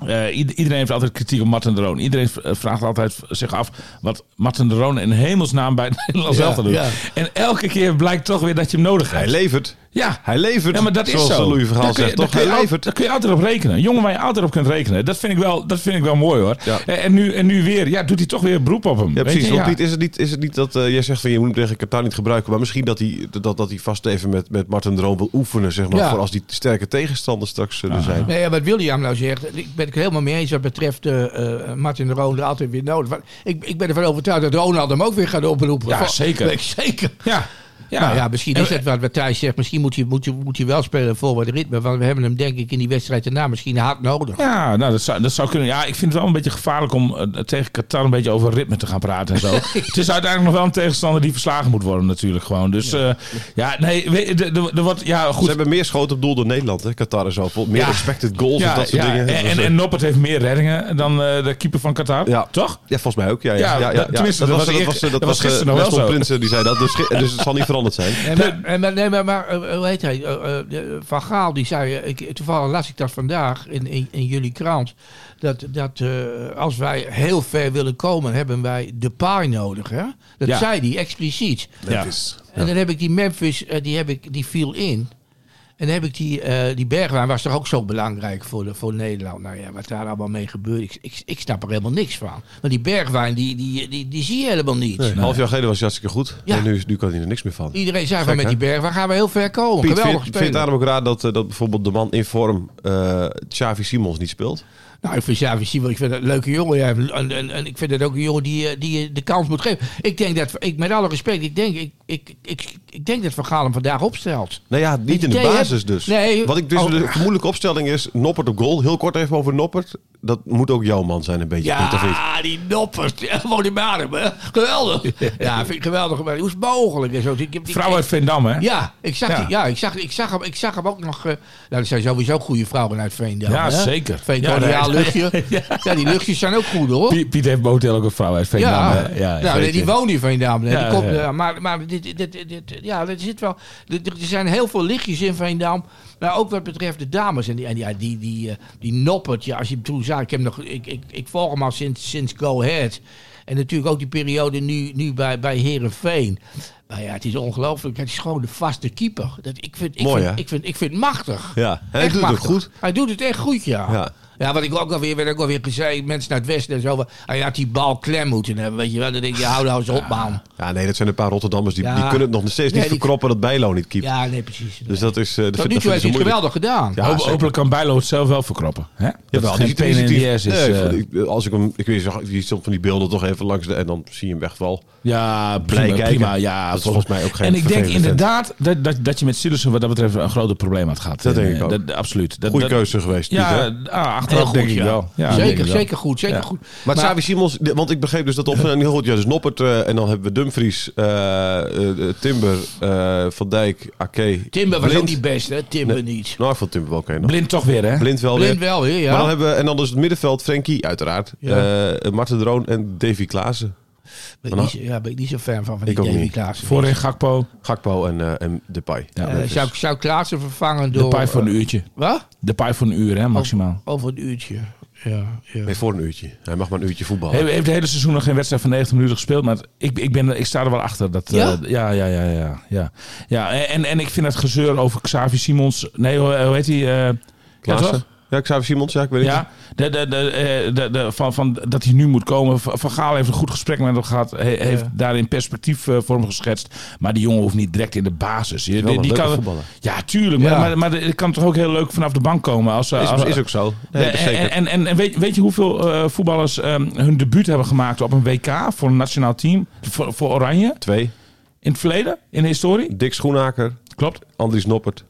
S7: Eh, ied- iedereen heeft altijd kritiek op Martin de Roon. Iedereen v- eh, vraagt altijd v- zich af wat Martin de Roon in hemelsnaam bij het Nederlands
S6: Ja,
S7: zelf doet.
S6: ja.
S7: En elke keer blijkt toch weer dat je hem nodig
S5: Hij
S7: hebt.
S5: levert.
S7: ja.
S5: Hij levert.
S7: Ja, maar dat
S5: zoals
S7: is zo.
S5: Louis Verhaal
S7: Daar kun je-
S5: zegt,
S7: daar
S5: toch?
S7: kun je
S5: Hij
S7: al-
S5: levert.
S7: Daar kun je altijd op rekenen. Een jongen waar je altijd op kunt rekenen. Dat vind ik wel, dat vind ik wel mooi hoor. Eh,
S5: Ja.
S7: En, en nu, en nu weer, ja, doet hij toch weer beroep op hem.
S5: Ja,
S7: Weet
S5: precies.
S7: je,
S5: Want
S7: ja.
S5: Piet, is het niet, is het niet dat eh, jij zegt van je moet hem tegen Qatar niet gebruiken, maar misschien dat hij, dat, dat hij vast even met, met Martin Droom wil oefenen, zeg maar,
S6: Ja.
S5: voor als die sterke tegenstanders straks zullen zijn.
S6: Nee, ja, wat William nou zegt, ik ben het helemaal mee eens wat betreft eh, eh, Martin de Roon er altijd weer nodig. Want Ik, ik ben ervan overtuigd dat Ronald hem ook weer gaat oproepen.
S7: Ja,
S6: Van-
S7: zeker.
S6: Weet ik zeker.
S7: Ja. Ja.
S6: Nou ja, misschien
S7: En-
S6: is dat wat, wat Thijs zegt. Misschien moet je, moet, je, moet je wel spelen voor wat ritme. Want we hebben hem denk ik in die wedstrijd daarna misschien hard nodig.
S7: Ja, nou, dat zou, dat zou kunnen. Ja, ik vind het wel een beetje gevaarlijk om eh, tegen Qatar een beetje over ritme te gaan praten en zo. het is uiteindelijk nog wel een tegenstander die verslagen moet worden natuurlijk gewoon. Dus ja, ja nee, weet- de, de, de, wat, ja,
S5: Ze
S7: goed.
S5: hebben meer schoten op doel door Nederland, hè? Qatar en zo. Vol- Meer
S7: Ja.
S5: expected goals
S7: ja,
S5: en dat soort
S7: ja,
S5: dingen.
S7: En,
S5: Dus,
S7: en,
S5: eh,
S7: en Noppert heeft meer reddingen dan eh, de keeper van Qatar,
S5: Ja.
S7: toch?
S5: ja, volgens mij ook. Ja, ja,
S7: Ja,
S5: ja, ja,
S7: dat-
S5: ja.
S7: tenminste, dat was eer-
S5: eh,
S7: dat was
S5: eh,
S7: gisteren nog wel
S5: Weston
S7: zo.
S5: Prinsen die zei dat, dus, ge- dus het zal niet veranderd zijn.
S6: En maar, en maar- nee, maar, maar eh, hoe heet hij? Eh, eh, de- van Gaal, die zei, eh, ik, toevallig las ik dat vandaag in, in, in jullie krant, dat, dat eh, als wij heel ver willen komen, hebben wij de paai nodig. Hè? Dat
S7: Ja.
S6: zei hij expliciet.
S7: Ja.
S6: En dan heb ik die Memphis, eh, die, heb ik, die viel in. En dan heb ik die, eh die Bergwijn, was toch ook zo belangrijk voor, de, voor Nederland. Nou ja, wat daar allemaal mee gebeurt, ik, ik, ik snap er helemaal niks van. Want die Bergwijn, die, die, die, die zie je helemaal niet.
S5: Een half jaar geleden was hij hartstikke goed.
S6: Ja.
S5: En nu, is- nu kan hij er niks meer van.
S6: Iedereen zei
S5: Gek,
S6: van met
S5: hè?
S6: die Bergwijn gaan we heel ver komen.
S5: Piet,
S6: Geweldig
S5: vind, vind je
S6: spelen.
S5: daarom ook raar dat, eh, dat bijvoorbeeld de man in vorm eh Xavi Simons niet speelt?
S6: Nou, ik vind Xavi Simons, ik vind dat een leuke jongen. Ja. En, en, en ik vind dat ook een jongen die, je- die je de kans moet geven. Ik denk dat, ik, met alle respect, ik denk, ik, ik, ik, ik denk dat Van Gaal hem vandaag opstelt.
S5: Nou ja, niet in de
S6: Nee, hè?
S5: basis dus.
S6: Nee.
S5: Wat ik dus
S6: Oh.
S5: de vermoedelijke opstelling is, Noppert op goal. Heel kort even over Noppert. Dat moet ook jouw man zijn een beetje, Piet, of niet?
S6: Ja, die noppers. Ja, Woon in Baden, hè? Geweldig. Ja, vind ik geweldig. Maar Hoe is het mogelijk? En zo. Ik, heb- ik-
S7: Vrouw uit Veendam, hè?
S6: Ja, ik zag,
S7: Ja.
S6: Die, ja ik, zag, ik, zag hem, ik zag hem ook nog... eh, nou, er zijn sowieso goede vrouwen uit Veendam.
S7: Ja,
S6: hè?
S7: zeker.
S6: Veendam,
S7: Ja,
S6: ja,
S7: nee.
S6: luchtje. Ja, die luchtjes zijn ook goed, hoor.
S7: Piet, Piet heeft mijn hotel ook een vrouw uit Veendam.
S6: Ja,
S7: hè? ja
S6: nou, nee,
S7: zeker.
S6: die woont hier van Veendam. Nee,
S7: Ja,
S6: die komt,
S7: ja.
S6: eh, maar maar dit, dit, dit, dit- ja, er, zit wel, er er zijn heel veel lichtjes in Veendam. Maar ook wat betreft de dames. En die, en die, ja, die, die, eh, die, Noppert, ja, als je hem toen zag, aan. Ik, heb nog, ik, ik, ik volg hem al sinds, sinds Go Ahead. En natuurlijk ook die periode nu, nu bij, bij Herenveen. Nou ja, het is ongelooflijk. Het is gewoon de vaste keeper. Dat, ik, vind, ik,
S5: Mooi,
S6: vind,
S5: hè?
S6: ik, vind, ik vind het machtig.
S5: Ja, hij
S6: Echt
S5: doet het
S6: machtig.
S5: goed.
S6: Hij doet het echt goed, ja.
S5: Ja.
S6: ja. wat ik ook alweer werd ook alweer gezegd, mensen naar het westen en zo. Hij had die bal klem moeten hebben, weet je wel. Dan denk je, hou nou eens op, man.
S5: Ja, nee, dat zijn een paar Rotterdammers. Die,
S6: Ja.
S5: die kunnen het nog steeds
S6: Nee,
S5: niet
S6: die-
S5: verkroppen dat Bijlo niet keept.
S6: Ja, nee, precies.
S5: Dus dat is... eh, dat vind-
S6: Tot nu
S5: dat
S6: toe
S5: vinden
S6: heeft
S5: ze
S6: hij het
S5: moeilijk.
S6: geweldig gedaan.
S5: Ja,
S7: Hoop-
S5: zeker.
S7: hopelijk kan Bijlo het zelf wel verkroppen. Hè? Dat
S5: Jawel,
S7: het geen
S5: die- die-
S7: pen in
S5: die-
S7: de is.
S5: Nee, ik
S7: eh,
S5: vond- ik- Als ik hem... Ik weet zag- je stond van die beelden toch even langs de... En dan zie je hem wegval.
S7: Ja,
S5: Blij
S7: prima,
S5: kijken.
S7: prima. Ja,
S5: Dat is volgens mij ook geen
S7: En ik denk
S5: vervelende vent.
S7: inderdaad dat, dat, dat je met Sillissen wat dat betreft een groot probleem had gehad.
S5: Dat
S7: En,
S5: denk ik
S7: eh,
S5: ook.
S7: dat- absoluut. Dat,
S5: Goeie
S7: dat-
S5: keuze geweest,
S7: Ja,
S5: Piet, hè?
S7: ah,
S6: Heel
S7: achteraf
S6: goed,
S7: denk ik
S6: ja.
S7: wel. Ja, denk ik
S6: zeker,
S7: wel.
S6: zeker goed, zeker
S7: Ja.
S6: goed.
S5: Maar, Xavi Simons, de- want ik begreep dus dat op heel goed, ja, dus Noppert eh, en dan hebben we Dumfries, eh, eh, eh, Timber, eh, Van Dijk, Ake.
S6: Timber was
S5: Blind.
S6: ook niet best, hè? Timber niet.
S5: Nou, ik vond Timber wel oké. nog.
S7: Blind toch weer, hè?
S5: Blind wel
S6: Blind
S5: weer.
S6: wel weer, ja.
S5: Maar dan hebben we, en dan dus het middenveld, Frenkie, uiteraard.
S6: Ja.
S5: Eh, Marten Droon en Davy Klaassen.
S6: Ben ik niet, zo- ja, ben ik niet zo fan van, van die
S5: Ik ook
S6: Davy
S5: niet.
S6: Klaassen.
S7: Voorin Gakpo.
S5: Gakpo en, eh en Depay.
S7: Ja,
S6: Eh, zou, ik- zou ik Klaassen vervangen
S7: de
S6: door... eh,
S7: paai voor een uurtje.
S6: Wat?
S7: De paai voor een
S5: Oh.
S7: uur, hè, maximaal.
S6: Over een uurtje. Ja, ja.
S5: Nee, voor een uurtje. Hij mag maar een uurtje voetballen.
S7: Hij heeft het hele seizoen nog geen wedstrijd van 90 minuten gespeeld. Maar ik, ik, ben, ik sta er wel achter. Dat, eh,
S6: Ja?
S7: ja, ja, ja, ja, ja. ja en, en ik vind het gezeur over Xavi Simons. Nee, hoe, hoe heet hij? eh, ja,
S5: Klaassen.
S7: toch?
S5: Ja, Xavi Simons, ja, ik weet het niet.
S7: Ja, de, de, de, eh, de, de, van, van, dat hij nu moet komen. Van van Gaal heeft een goed gesprek met hem gehad. Hij heeft daarin perspectief eh, voor hem geschetst. Maar die jongen hoeft niet direct in de basis. Die,
S5: wel een
S7: die
S5: leuke
S7: kan,
S5: voetballer.
S7: ja, tuurlijk.
S6: Ja.
S7: Maar, maar, maar het kan toch ook heel leuk vanaf de bank komen. Als, eh, als,
S5: Is, is ook zo. Nee,
S7: Ja,
S5: dat is zeker.
S7: en, en, en, en weet, weet je hoeveel eh, voetballers ehm, hun debuut hebben gemaakt op een WK voor een nationaal team? Voor, voor Oranje?
S5: Twee.
S7: In het verleden? In de historie?
S5: Dick Schoenaker,
S7: Klopt.
S5: Andries Noppert.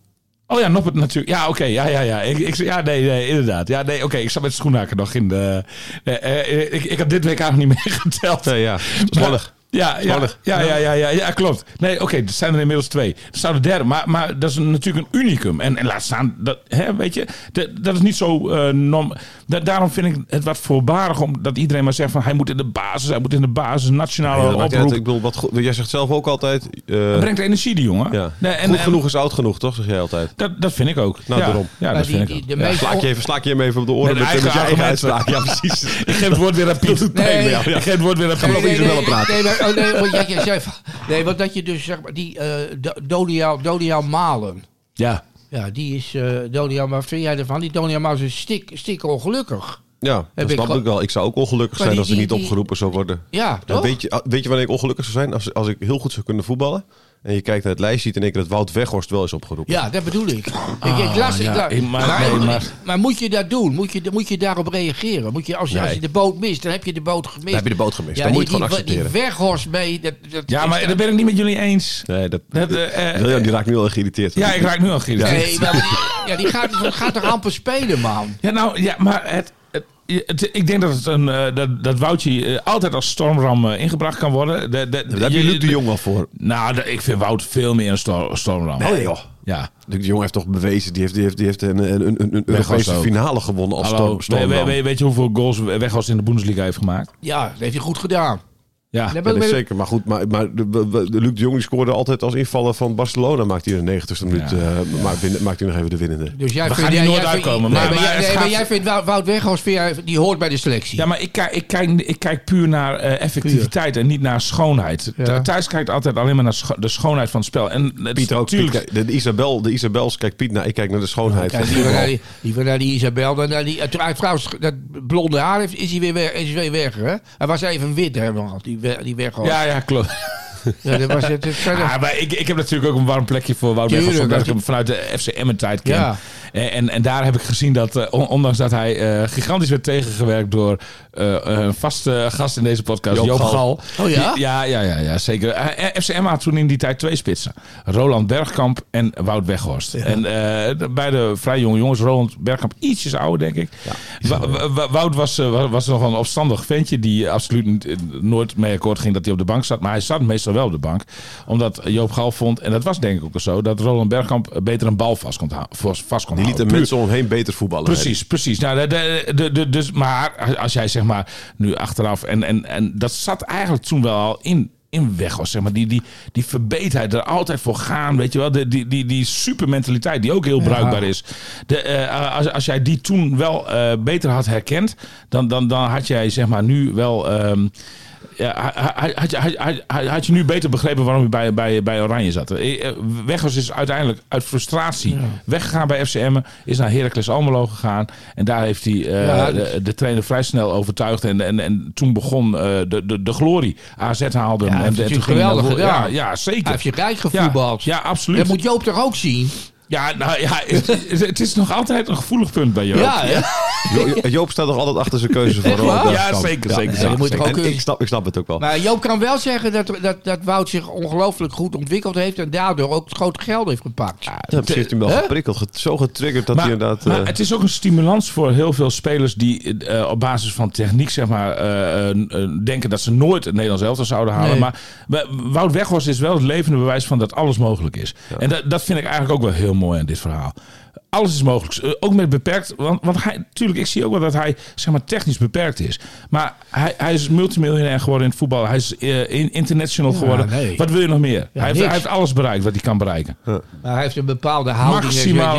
S7: Oh ja, Noppert natuurlijk. Ja, oké. ja, ja, ja. Ik, ik, ja, nee, nee, inderdaad. Ja, nee, oké. ik zat met schoenhaken nog in de... eh, eh, ik, ik heb dit WK nog niet meegeteld.
S5: Nee, ja. Spannend.
S7: Ja, ja,
S5: Spannend.
S7: ja, ja, ja, ja, ja, klopt. Nee, oké, er zijn er inmiddels twee. Er zou de derde, maar, maar dat is een- natuurlijk een unicum. En, en laat staan, dat, hè, weet je, dat, dat is niet zo eh, norm. Da- daarom vind ik het wat voorbarig om dat iedereen maar zegt van hij moet in de basis, hij moet in de basis, nationale
S5: Ja, dat maakt niet uit.
S7: oproep.
S5: ik bedoel, wat goed, jij zegt zelf ook altijd... eh,
S7: Dat brengt energie, die jongen.
S5: ja.
S7: Nee, en, eh,
S5: goed
S7: en
S5: genoeg is oud genoeg, toch? Zeg jij altijd.
S7: dat, dat vind ik ook.
S5: Nou,
S7: ja.
S5: daarom.
S7: Ja,
S6: Maar
S7: dat
S6: die-
S7: vind ik
S6: die-
S7: ook.
S6: de
S5: Ja,
S6: meest
S5: slaak je even, slaak je hem even op de oren
S7: Met
S5: met, met,
S7: eigen
S5: je eigen uitspraak.
S7: argumenten.
S5: Ja, precies.
S7: Ik geef het woord weer aan Piet.
S6: Nee.
S7: Nee, Ik geef het woord weer aan Piet.
S5: Geloof ik ze wel aan praten.
S6: nee, maar, oh, nee, want jij- jij zei van- nee, want dat je dus zeg maar die eh Do- Dodiaal, Dodiaal Malen.
S7: Ja.
S6: Ja, die is eh Dodiaal, maar wat vind jij ervan? Die Dodiaal Malen is stik, stik ongelukkig.
S5: Ja, dat
S6: Heb ik
S5: snap
S6: ge-
S5: ik wel. Ik zou ook ongelukkig
S6: Maar
S5: zijn
S6: die-
S5: als ik
S6: die-
S5: niet
S6: die-
S5: opgeroepen zou worden.
S6: Ja,
S5: Ja,
S6: toch?
S5: weet, je, ah, weet je wanneer ik ongelukkig zou zijn? Als, als ik heel goed zou kunnen voetballen. En je kijkt naar het lijstje, ziet in één keer dat Wout Weghorst wel is opgeroepen.
S6: Ja, dat bedoel ik. ik,
S5: Ah,
S6: ik las, ik
S7: ja,
S6: las-
S7: ik- maar-
S6: maar,
S7: nee, maar-
S6: maar moet je dat doen? Moet je, moet je daarop reageren? Moet je, als, je, als je
S5: Nee.
S6: de boot mist, dan heb je de boot gemist.
S5: Dan heb je de boot gemist.
S6: Ja,
S5: Dan
S6: die-
S5: moet je het gewoon
S6: die- die
S5: accepteren.
S6: weghorst mee. Dat, dat
S7: ja, maar dat ben ik niet met jullie eens.
S5: Nee, dat,
S7: Dat, eh, eh,
S5: William die raakt nu al geïrriteerd.
S7: Ja, ik raak nu al geïrriteerd.
S6: Nee, maar die, ja, die gaat, gaat er amper spelen, man.
S7: Ja, nou, ja, maar het, het- het- ik denk dat, het een, eh, dat, dat Woutje eh, altijd als stormram eh, ingebracht kan worden. De, de,
S5: Daar heb je Luc de Jong al voor.
S7: Nou, de- ik vind Wout veel meer een stor- stormram.
S5: Nee joh.
S7: Ja.
S5: Luc de Jong heeft toch bewezen, die heeft, die heeft, die heeft een, een, een, een Europese
S7: ook.
S5: finale gewonnen als
S7: Hallo,
S5: storm, stormram.
S7: we- we- we- weet je hoeveel goals Weghorst in de Bundesliga heeft gemaakt?
S6: Ja, dat heeft hij goed gedaan.
S7: Ja.
S6: Nee,
S5: Ja,
S6: maar-
S5: dat is zeker. Maar goed, maar, maar de, de- de- Luc de Jong die scoorde altijd als invaller van Barcelona. Maakt hij in de 90ste minuut,
S7: Ja.
S5: eh, maakt, win- maakt hij nog even de winnende.
S6: Dus jij
S7: We
S6: vindt,
S7: gaan hier
S6: jij-
S7: nooit
S6: jij vindt-
S7: uitkomen,
S6: Nee,
S7: maar-
S6: maar,
S7: maar
S6: jij,
S7: het
S6: nee, maar
S7: gaat-
S6: jij vindt Wout, Wout Weghorst, vind jij- die hoort bij de selectie.
S7: Ja, maar ik kijk, ik kijk, ik kijk puur naar eh, effectiviteit en niet naar schoonheid.
S6: Ja.
S7: Th- Thijs kijkt altijd alleen maar naar scho- de schoonheid van het spel. En het,
S5: Piet ook. Piet,
S7: tuurlijk-
S5: kijkt- de, de Isabel, de Isabels kijkt Piet naar. Ik kijk naar de schoonheid.
S6: Kijk,
S5: van
S6: die van
S5: voetbal.
S6: naar die, die van naar die Isabel. Dan naar die, eh, trouw- trouwens, dat blonde haar heeft, is hij weer weg. Is hij weer weg hè? Hij was even wit, hè, man, die, we- die Weghorst.
S7: ja, ja, klopt.
S6: Ja, dat was het. het verder-
S7: Ah, maar ik, ik heb natuurlijk ook een warm plekje voor Wout
S6: Tuurlijk,
S7: Weghorst. Omdat
S6: dat-
S7: ik hem vanuit de FC Emmen tijd ken.
S6: Ja.
S7: En, en, en daar heb ik gezien dat, eh, on- ondanks dat hij eh, gigantisch werd tegengewerkt door eh, een vaste gast in deze podcast,
S5: Joop
S7: Joop,
S5: Gal.
S7: Gal.
S6: Oh ja?
S7: Die- ja, ja, ja, ja, zeker. Eh, eh, FC Emmen had toen in die tijd twee spitsen. Roland Bergkamp en Wout Weghorst. En eh, de- beide vrij jonge jongens. Roland Bergkamp ietsjes ouder, denk ik. Wa- wa- wa- Wout was, eh, wa- was nog wel een opstandig ventje die absoluut niet- eh, nooit mee akkoord ging dat hij op de bank zat. Maar hij zat meestal wel op de bank. Omdat Joop Gal vond, en dat was denk ik ook zo, dat Roland Bergkamp beter een bal vast kon, hou- vast kon
S5: Die
S7: houden.
S5: liet de
S7: Puur-
S5: mensen om hem heen beter voetballen.
S7: Precies, precies. Nou, de, de, de- de- dus, maar als jij zeg maar nu achteraf en, en, en dat zat eigenlijk toen wel al in. in weg was. Zeg maar. die, die, die verbeterheid, er altijd voor gaan. Weet je wel? De, die, die, die supermentaliteit die ook heel bruikbaar is. De, eh, als, als jij die toen wel eh, beter had herkend, dan, dan, dan had jij zeg maar, nu wel. ehm, ja, ha- ha- had, je- had, had- had- had je nu beter begrepen waarom je bij, bij, bij Oranje zat? Eh, eh, Weghorst is uiteindelijk uit frustratie weggegaan bij FCM. Is naar Heracles Almelo gegaan. En daar heeft hij eh,
S6: Ja, dat-
S7: de, de trainer vrij snel overtuigd. En, en, en toen begon eh, de, de, de glorie. AZ haalde hem.
S6: Ja, hij
S7: en,
S6: heeft
S7: en toen
S6: natuurlijk
S7: ging hij naar
S6: geweldig
S7: Wo- ja,
S6: gedaan.
S7: ja, zeker.
S6: Hij heeft je rijk
S7: ja,
S6: gevoetbald.
S7: ja,
S6: Dat
S7: absoluut.
S6: moet Joop toch ook zien?
S7: Ja, nou, ja, het, het- het is nog altijd een gevoelig punt bij jou.
S6: Ja, hè?
S5: Jo- Joop staat nog altijd achter zijn keuze voor
S6: Echt waar?
S5: Ronald
S7: Ja,
S5: Kamp.
S7: zeker, zeker,
S5: ja,
S7: zeker,
S5: ja,
S6: je moet
S5: zeker.
S6: er ook
S5: En
S6: kunnen-
S5: ik snap, ik snap het ook wel.
S6: Maar Joop kan wel zeggen dat, dat, dat Wout zich ongelooflijk goed ontwikkeld heeft en daardoor ook het grote geld heeft gepakt.
S5: Ja, misschien heeft hij hem wel
S6: Hè?
S5: geprikkeld, ge- zo getriggerd dat
S7: Maar,
S5: hij inderdaad...
S7: maar
S5: eh,
S7: het is ook een stimulans voor heel veel spelers die eh, op basis van techniek zeg maar, eh, eh, eh, denken dat ze nooit het Nederlands elftal zouden halen.
S6: Nee.
S7: Maar we- Wout Weghorst is wel het levende bewijs van dat alles mogelijk is. En dat, dat vind ik eigenlijk ook wel heel mooi aan dit verhaal. Alles is mogelijk. Eh, Ook met beperkt. Want, want hij, natuurlijk, ik zie ook wel dat hij zeg maar, technisch beperkt is. Maar hij, hij is multimiljonair geworden in het voetbal. Hij is eh, in- international geworden.
S6: nee.
S7: Wat wil je nog meer? hij, heeft,
S6: niks.
S7: hij heeft alles bereikt wat hij kan bereiken.
S6: Maar hij heeft een bepaalde houding.
S7: Maximale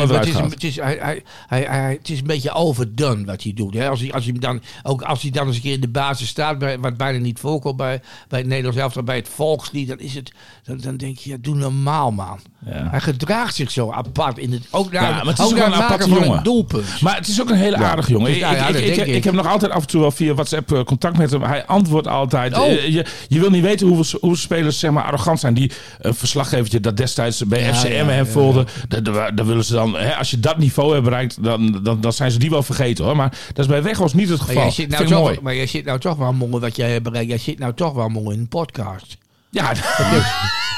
S6: Het is- het is,
S7: eruit
S6: het is, hij, hij, hij, hij- het is een beetje overdone wat hij doet. Hè? Als, hij, als, hij hem dan, ook als hij dan eens een keer in de basis staat, bij, wat bijna niet voorkomt bij, bij het Nederlands elftal, bij het volkslied, dan, is het, dan, dan denk je, ja, doe normaal man.
S7: Ja.
S6: Hij gedraagt zich zo apart. In het, ook naar,
S7: Ja, maar het is
S6: ook
S7: ook
S6: naar
S7: een
S6: het maken
S7: aparte
S6: van
S7: jongen.
S6: een doelpunt.
S7: Maar het is ook een hele aardige jongen.
S6: Dus, nou ja,
S7: ik,
S6: dat
S7: ik, ik,
S6: denk
S7: ik.
S6: ik.
S7: heb nog altijd af en toe wel via WhatsApp eh, contact met hem. Hij antwoordt altijd.
S6: Oh.
S7: Eh, Je, je wil niet weten hoeveel, hoeveel spelers zeg maar, arrogant zijn. Die een verslaggevertje dat destijds bij
S6: Ja,
S7: FCM
S6: ja,
S7: hem
S6: ja,
S7: volgde. dat- dat- dat willen ze dan, hè, als je dat niveau hebt bereikt, dan, dan, dan zijn ze die wel vergeten hoor. Maar dat is bij Weghorst niet het
S6: Maar
S7: geval.
S6: jij, zit nou
S7: Vind ik
S6: toch,
S7: mooi.
S6: maar jij zit nou toch wel mooi wat jij hebt bereikt. Jij zit nou toch wel mooi in een podcast.
S7: Ja,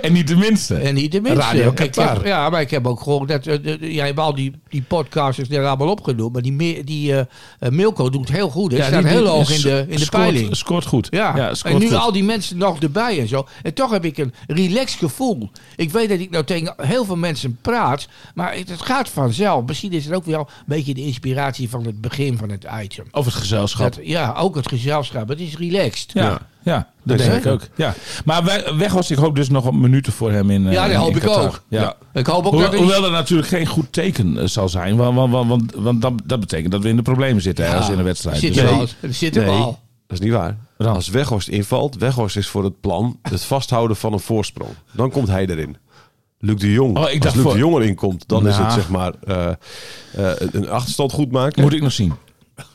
S7: en niet de minste.
S6: En niet de minste.
S7: Radio
S6: ik
S7: Qatar.
S6: heb, ja, maar ik heb ook gehoord dat... eh, de- de- jij hebt al die, die podcasters er allemaal opgenoemd. Maar die, me- die eh, eh, Milko doet heel goed. Hij
S7: Ja,
S6: staat
S7: die- die-
S6: heel hoog in de, in de
S7: scoort-
S6: peiling.
S7: Scoort goed.
S6: Ja,
S7: scoort
S6: en nu
S7: goed.
S6: al die mensen nog erbij en zo. En toch heb ik een relaxed gevoel. Ik weet dat ik nou tegen heel veel mensen praat, maar het, het gaat vanzelf. Misschien is het ook wel een beetje de inspiratie van het begin van het item.
S7: Of het gezelschap.
S6: Dat, ja, ook het gezelschap. Het is relaxed.
S7: Ja, ja. dat
S6: Dus,
S7: denk ik
S6: hè?
S7: ook. Ja. Maar we- weg was ik hoop dus nog een minuten voor hem in eh,
S6: Ja, dat
S7: in
S6: hoop ik
S7: Qatar.
S6: ook.
S7: Ja.
S6: Ik hoop ook
S7: Ho-
S6: dat er
S7: hoewel dat natuurlijk geen goed teken eh, zal zijn. Want, want, want, want, want dat, dat betekent dat we in de problemen zitten hè, als in een wedstrijd.
S6: Ah, Zit
S7: Dus-
S6: er
S5: Nee.
S6: al. Er zit er
S5: nee,
S6: al.
S5: dat is niet waar.
S7: Dan.
S5: Als Weghorst invalt, Weghorst is voor het plan het vasthouden van een voorsprong. Dan komt hij erin. Luc de Jong.
S7: Oh, ik
S5: Als
S7: dacht
S5: Luc
S7: voor-
S5: de Jong erin komt, dan is
S7: Ja.
S5: het zeg maar eh, eh, een achterstand goed maken.
S7: moet ik nog zien.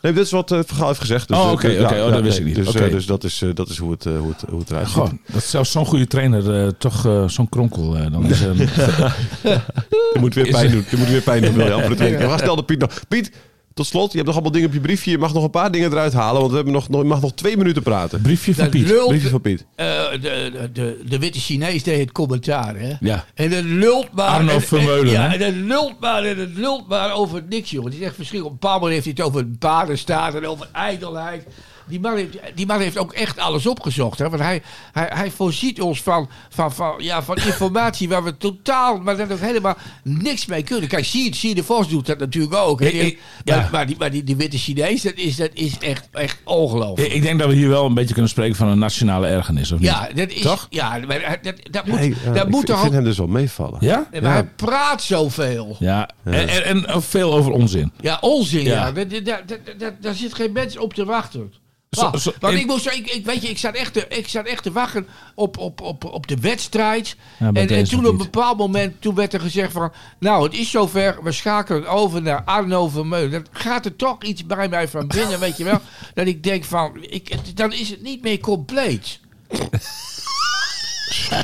S5: Nee, dit is wat eh, Van Gaal heeft gezegd. Dus,
S7: Oh,
S5: eh,
S7: oké,
S5: dus-
S7: oké. Oh, dat wist ik niet.
S5: Dus, eh,
S7: Oké.
S5: dus dat is, eh, dat is hoe, het, eh, hoe, het, hoe het eruit ziet.
S7: Goh, dat zelfs zo'n goede trainer eh, toch eh, zo'n kronkel eh, dan is. eh,
S5: Je moet weer
S7: Is-
S5: pijn doen. Je moet weer pijn doen. Wil je helpen voor het weekend. Maar stel dat Piet nog. Piet, tot slot, je hebt nog allemaal dingen op je briefje. Je mag nog een paar dingen eruit halen, want we hebben nog, nog, je mag nog twee minuten praten.
S7: briefje van
S6: Dat
S7: Piet.
S6: lult,
S5: Briefje van Piet.
S6: eh, de, de, de, de witte Chinees deed het commentaar, hè?
S7: Ja.
S6: En dat lult maar.
S7: Arno
S6: en- en-
S7: Vermeulen,
S6: Ja,
S7: hè?
S6: en dat lult maar en dat lult maar over niks, joh. Het is echt verschrikkelijk. Op een bepaald moment heeft hij het over paardenstaat en over ijdelheid. Die man, heeft, die man heeft ook echt alles opgezocht, hè? Want hij, hij, hij voorziet ons van, van, van, ja, van informatie waar we totaal, maar dat ook helemaal niks mee kunnen. Kijk, Sien, Sien de Vos doet dat natuurlijk ook. hè?
S7: Ik- ik-
S6: maar,
S7: ja.
S6: maar die, maar die, die witte Chinees, dat is, dat is echt, echt ongelooflijk.
S7: Ik ik denk dat we hier wel een beetje kunnen spreken van een nationale ergernis, of niet?
S6: Ja, dat is.
S7: Toch?
S6: Ja, maar eh, dat, dat moet,
S5: Hey, eh,
S6: dat
S5: ik
S6: moet
S5: vind- ik
S6: toch
S5: vind
S6: ook.
S5: hem dus wel meevallen.
S7: Ja?
S6: Maar hij praat zoveel. Ja,
S7: Ja. En, en, en veel over onzin.
S6: onzin. Ja.
S7: Ja.
S6: Dat- dat- dat- dat- dat- daar zit geen mens op te wachten.
S7: Zo-
S6: Wacht,
S7: zo-
S6: want
S7: en-
S6: ik moest, ik, ik, weet je, ik zat echt te, ik zat echt te wachten op, op, op, op de wedstrijd.
S7: Ja,
S6: en,
S7: bij
S6: en
S7: deze
S6: toen
S7: nog
S6: op een
S7: niet.
S6: bepaald moment, toen werd er gezegd van, nou het is zover, we schakelen over naar Arno Vermeulen. Dan gaat er toch iets bij mij van binnen, weet je wel. Dat ik denk van, ik, het- dan is het niet meer compleet.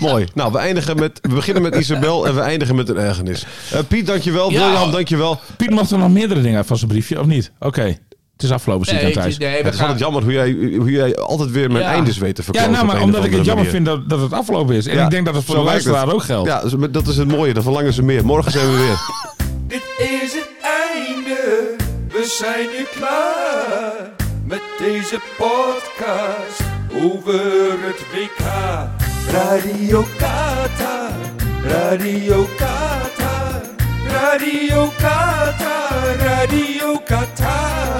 S5: Mooi. Nou, we, eindigen met, we beginnen met Isabel en we eindigen met een ergernis. Eh, Piet, dankjewel.
S6: Ja.
S5: William, dankjewel.
S7: Piet mocht er nog meerdere dingen uit van zijn briefje, of niet? Oké. Het is afgelopen, zie ik aan
S6: het
S7: thuis.
S6: is- nee, we
S5: Het is
S6: gaan-
S5: altijd jammer hoe jij, hoe jij altijd weer mijn
S6: Ja.
S5: eindes weet te
S7: Ja,
S5: verkopen.
S7: nou,
S5: op
S7: maar
S5: een
S7: omdat
S5: of
S7: ik het
S5: andere
S7: jammer
S5: manier.
S7: vind dat, dat het afgelopen is. En
S5: Ja,
S7: ik denk dat het voor
S5: zo
S7: de
S5: werkt het.
S7: luisteraar ook geldt.
S5: Ja, dus- dat is het mooie. Dan verlangen ze meer. Morgen zijn we weer.
S4: Dit is het einde, we zijn nu klaar met deze podcast over het WK. Radio Qatar, Radio Qatar, Radio Qatar, Radio Qatar.